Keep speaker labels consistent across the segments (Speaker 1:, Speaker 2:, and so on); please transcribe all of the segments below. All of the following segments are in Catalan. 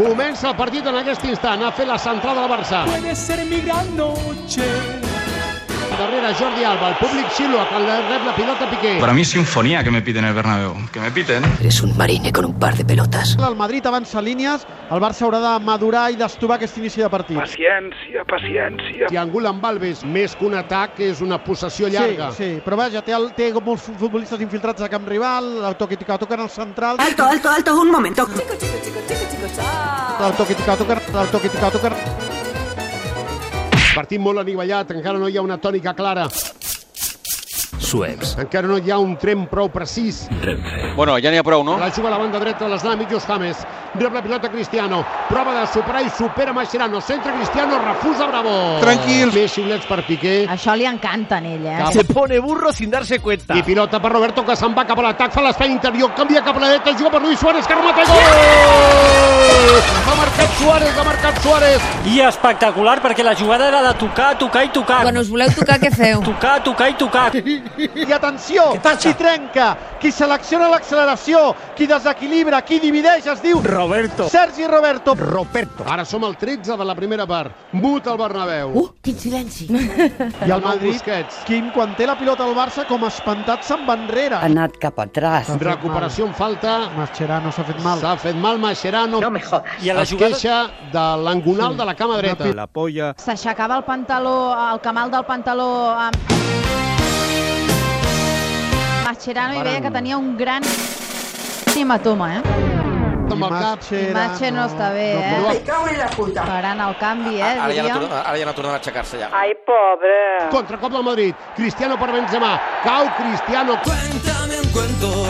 Speaker 1: Comença el partit en aquest instant. Ha fet la centrada del Barça.
Speaker 2: Puede ser mi gran noche.
Speaker 1: Darrere Jordi Alba, el públic xilua quan la rep la pilota Piqué.
Speaker 3: Para mí es sinfonía que me piten el Bernabéu. Que me piten.
Speaker 4: Eres un marine con un par de pelotas.
Speaker 5: El Madrid avança línies, el Barça haurà de madurar i d'estovar aquest inici de partit.
Speaker 6: Paciència, paciència.
Speaker 1: I angul amb Alves, més que un atac, és una possessió llarga.
Speaker 5: Sí, sí, però vaja, té, el, té molts futbolistes infiltrats a camp rival, el toque que toquen al central,
Speaker 7: Alto, alto, alto, un momento.
Speaker 5: el toque que toquen, el toque que toquen.
Speaker 1: Partit molt anivellat, encara no hi ha una tònica clara,
Speaker 4: Sueps.
Speaker 1: encara no hi ha un tren prou precís.
Speaker 8: Bueno, ja n'hi ha prou, no?
Speaker 1: La juga a la banda dreta de l'Eslam i Just James. Rep la pilota Cristiano. Prova de superar i supera Mascherano. Centre Cristiano, refusa Bravo.
Speaker 9: Tranquils.
Speaker 1: Més xiulets per Piqué.
Speaker 10: Això li encanta a ell, eh?
Speaker 1: Cap.
Speaker 11: Se pone burro sin darse cuenta.
Speaker 1: I pilota per Roberto que se'n va cap a l'atac, fa l'espai interior, canvia cap a la dreta, juga per Luis Suárez, que remata i gol! Ha marcat Suárez, ha marcat Suárez.
Speaker 2: I espectacular, perquè la jugada era de tocar, tocar i tocar.
Speaker 10: Quan us voleu tocar, què feu?
Speaker 2: Tocar, tocar i tocar.
Speaker 5: I atenció, qui trenca, qui selecciona l'acceleració, qui desequilibra, qui divideix, es diu
Speaker 11: Roberto.
Speaker 5: Sergi Roberto.
Speaker 1: Roberto. Ara som al 13 de la primera part. Mut al Bernabéu.
Speaker 10: Uh, quin silenci.
Speaker 1: I el Madrid, Busquets.
Speaker 5: Quim, quan té la pilota al Barça, com espantat, se'n va enrere.
Speaker 7: anat cap atrás.
Speaker 1: Recuperació en falta.
Speaker 5: Mascherano s'ha fet mal.
Speaker 1: S'ha fet mal Mascherano. No me
Speaker 2: I a la
Speaker 1: es
Speaker 2: jugada...
Speaker 1: queixa de l'angonal de la cama dreta.
Speaker 11: La polla.
Speaker 10: S'aixecava el pantaló, el camal del pantaló amb... Mascherano i veia que tenia un gran hematoma, eh?
Speaker 1: Amb el cap.
Speaker 10: Imatge no està bé,
Speaker 1: No,
Speaker 10: eh?
Speaker 1: però-
Speaker 7: Cago en la puta.
Speaker 10: Parant el canvi, eh?
Speaker 8: Ara ja no,
Speaker 10: diríem.
Speaker 8: torna- ara ja no tornen a aixecar-se ja.
Speaker 7: Ai, pobre.
Speaker 1: Contracop del Madrid. Cristiano per Benzema. Cau Cristiano.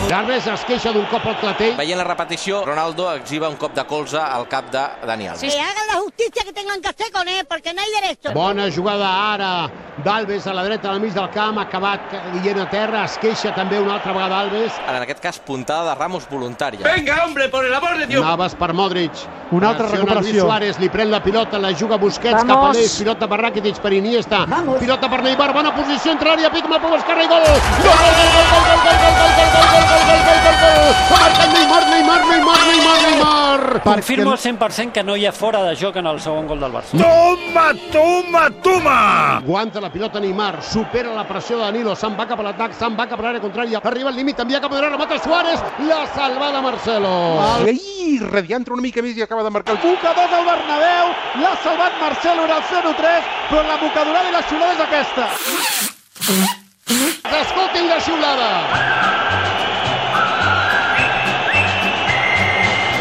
Speaker 1: Darmes es queixa d'un cop al clatell.
Speaker 8: Veient la repetició, Ronaldo exhiba un cop de colze al cap de Dani Alves.
Speaker 10: Que hagan la justicia que tengan que hacer con él, porque no hay derecho.
Speaker 1: Bona jugada ara d'Alves a la dreta del mig del camp, acabat dient a terra, es queixa també una altra vegada Alves,
Speaker 8: En aquest cas, puntada de Ramos voluntària.
Speaker 2: Venga, hombre, por el amor de
Speaker 1: Naves per Modric.
Speaker 5: Una altra
Speaker 1: Acciona
Speaker 5: recuperació.
Speaker 1: Luis Suárez, li pren la pilota, la juga Busquets Vamos. cap a l'eix, pilota per Rakitic, per Iniesta, Vamos. pilota per Neymar, bona posició entre l'àrea, pica amb el peu esquerra i gol! Gol, gol, gol, gol, gol, gol, gol, gol, gol, gol, gol, gol, gol, gol, gol, gol! Ha marcat Neymar, Neymar, Neymar, Neymar, Neymar!
Speaker 2: Confirmo al 100% que no hi ha fora de joc en el segon gol del Barça.
Speaker 11: Toma, toma, toma.
Speaker 1: Aguanta la pilota Neymar, supera la pressió de Danilo, se'n va cap a l'atac, se'n va cap a l'àrea contrària, arriba al límit, envia cap a l'àrea, remata Suárez, la salvada Marcelo.
Speaker 9: Ahí, rediantra una mica més i acaba de marcar el cuc.
Speaker 5: Boca 2 al Bernabéu, l'ha salvat Marcelo en el 0-3, però la bocadurada i la xiulada és aquesta.
Speaker 1: Escoltin la xiulada.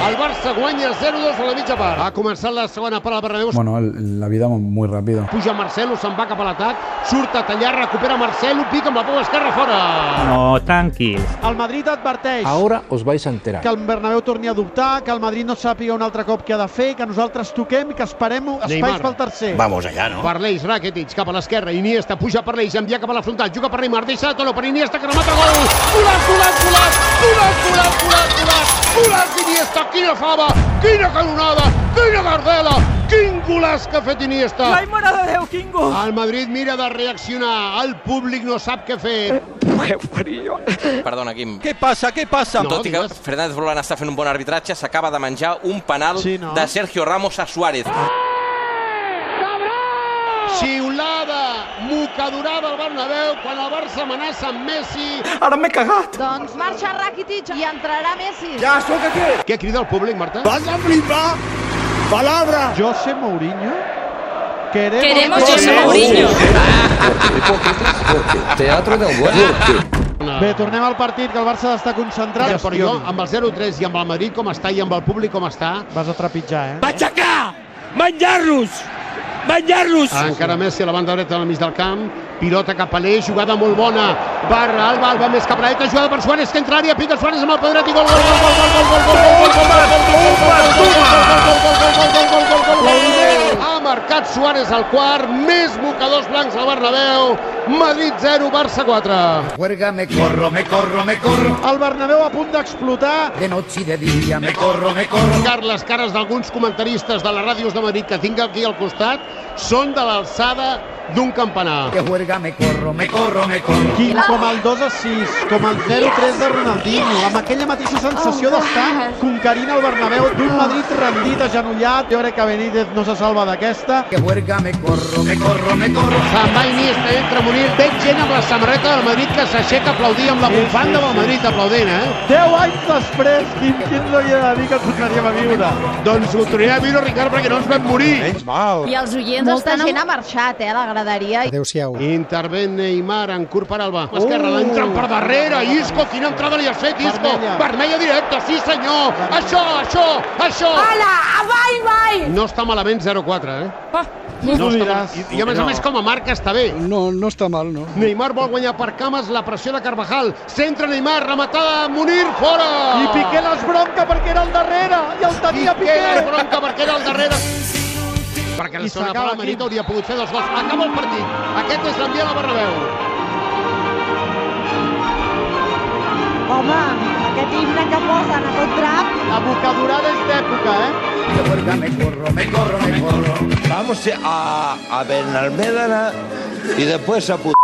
Speaker 1: El Barça guanya 0-2 a la mitja part. Ha començat la segona part al Bernabéu.
Speaker 3: Bueno, la vida muy rápido.
Speaker 1: Puja Marcelo, se'n va cap a l'atac, surt a tallar, recupera Marcelo, pica amb la pou esquerra fora.
Speaker 2: No, tranquil.
Speaker 5: El Madrid adverteix
Speaker 11: Ahora os vais a enterar.
Speaker 5: que el Bernabéu torni a dubtar, que el Madrid no sàpiga un altre cop què ha de fer, que nosaltres toquem i que esperem espais
Speaker 1: Neymar.
Speaker 5: pel tercer.
Speaker 8: Vamos allá,
Speaker 1: No. Per l'Eix, Rakitic, cap a l'esquerra, Iniesta, puja per l'Eix, envia cap a la frontal, juga per Neymar, deixa de Tolo per Iniesta, que remata gol! Golaç, golaç, golaç! Golaç, golaç, golaç, golaç! Golaç d'Iniesta, quina fava! Quina canonada! Quina gardela! Quin golaç que ha fet Iniesta!
Speaker 7: Ai, mare de Déu, Quingo.
Speaker 1: El Madrid mira de reaccionar, el públic no sap què fer.
Speaker 8: Perdona, Quim.
Speaker 11: ¿Qué pasa? ¿Qué pasa?
Speaker 1: No,
Speaker 8: Tot i que
Speaker 1: digues.
Speaker 8: Fernández Roland està fent un bon arbitratge, s'acaba de menjar un penal
Speaker 5: Sí, no?
Speaker 8: de Sergio Ramos a Suárez.
Speaker 1: Xiulada, mocadurada al Bernabéu, quan el Barça amenaça amb Messi.
Speaker 11: Ahora me he cagado.
Speaker 10: Doncs marxa Rakitic i entrarà Messi.
Speaker 11: Ya, ¿eso qué qué?
Speaker 1: Què crida el públic, Marta?
Speaker 11: Vas a flipar. Palabra.
Speaker 5: José Mourinho? Queremos,
Speaker 10: Queremos José Mourinho.
Speaker 4: Teatro del
Speaker 5: Bé, tornem al partit, que el Barça ha d'estar concentrat.
Speaker 1: Mira, però jo, amb el 0-3 i amb el Madrid com està i amb el públic com està,
Speaker 5: Vas a trepitjar, eh?
Speaker 11: Machacar. Manjarlos. Manjarlos.
Speaker 1: encara Messi a la banda dreta del mig del camp, pilota cap a l'eix, jugada molt bona, barra, Alba, Alba més cap a l'eta, jugada per Suárez, que entra a àrea, pica Suárez amb el pedret i gol, gol, gol, gol, gol, gol, gol, gol, gol, gol, Ha marcat Suárez al quart, més mocadors blancs al Bernabéu, Madrid 0, Barça 4.
Speaker 4: Huerga, me corro, me corro, me corro.
Speaker 5: El Bernabéu a punt d'explotar.
Speaker 4: De noche y de día, me corro, me corro.
Speaker 1: Car les cares d'alguns comentaristes de les ràdios de Madrid que tinc aquí al costat són de l'alçada d'un campanar.
Speaker 4: Que juerga, me corro, me corro, me corro.
Speaker 5: Quin, com el 2 a 6, com el 0-3 de Ronaldinho, amb aquella mateixa sensació d'estar conquerint el Bernabéu d'un Madrid rendit, agenollat. Jo crec que Benítez no se salva d'aquesta.
Speaker 4: Que juerga, me corro, me corro, me corro.
Speaker 1: Se'n va Iniesta, entra Munir, ve gent amb la samarreta del Madrid que s'aixeca a aplaudir amb la
Speaker 5: Sí,
Speaker 1: bufanda
Speaker 5: sí,
Speaker 1: del
Speaker 5: sí.
Speaker 1: Madrid aplaudint, eh?
Speaker 5: 10 anys després, quin, quin no hi ha de dir que tornaríem a viure.
Speaker 1: Doncs ho tornaré a viure, Ricard, perquè no ens vam morir.
Speaker 9: Menys mal.
Speaker 10: I els oients
Speaker 12: Molta
Speaker 10: estan
Speaker 12: gent
Speaker 10: amb-
Speaker 12: ha marxat, eh, a la graderia.
Speaker 1: Adéu-siau. Intervent Neymar en curt per Alba. Uh. Esquerra, l'entren per darrere. Isco, quina entrada li has fet, Isco?
Speaker 5: Vermella.
Speaker 1: Vermella, directa, sí senyor. Això, això, això.
Speaker 7: Hola, avall, vai!
Speaker 1: No està malament 0-4, eh?
Speaker 7: Ah,
Speaker 1: No està mal. I, I a més a
Speaker 13: No.
Speaker 1: més com a marca està bé. No, no està mal, no. Neymar vol guanyar per cames la pressió de Carvajal. Centra Neymar, rematada, Munir, fora!
Speaker 5: I Piqué les bronca perquè era al darrere, i el tenia
Speaker 1: Piqué les
Speaker 5: Piqué.
Speaker 1: bronca perquè era al darrere. Perquè la
Speaker 5: I
Speaker 1: segona
Speaker 5: s'acaba
Speaker 1: part
Speaker 5: aquí.
Speaker 1: el Madrid hauria pogut fer dos gols. Acaba el partit. Aquest és l'enviat a la Bernabéu.
Speaker 7: Home, aquest himne que posen a tot drap...
Speaker 5: Abocadurada és d'època, eh?
Speaker 4: Que juerga, me corro, me corro, me corro.
Speaker 14: Vamos a, a Benalmédana y después a puta.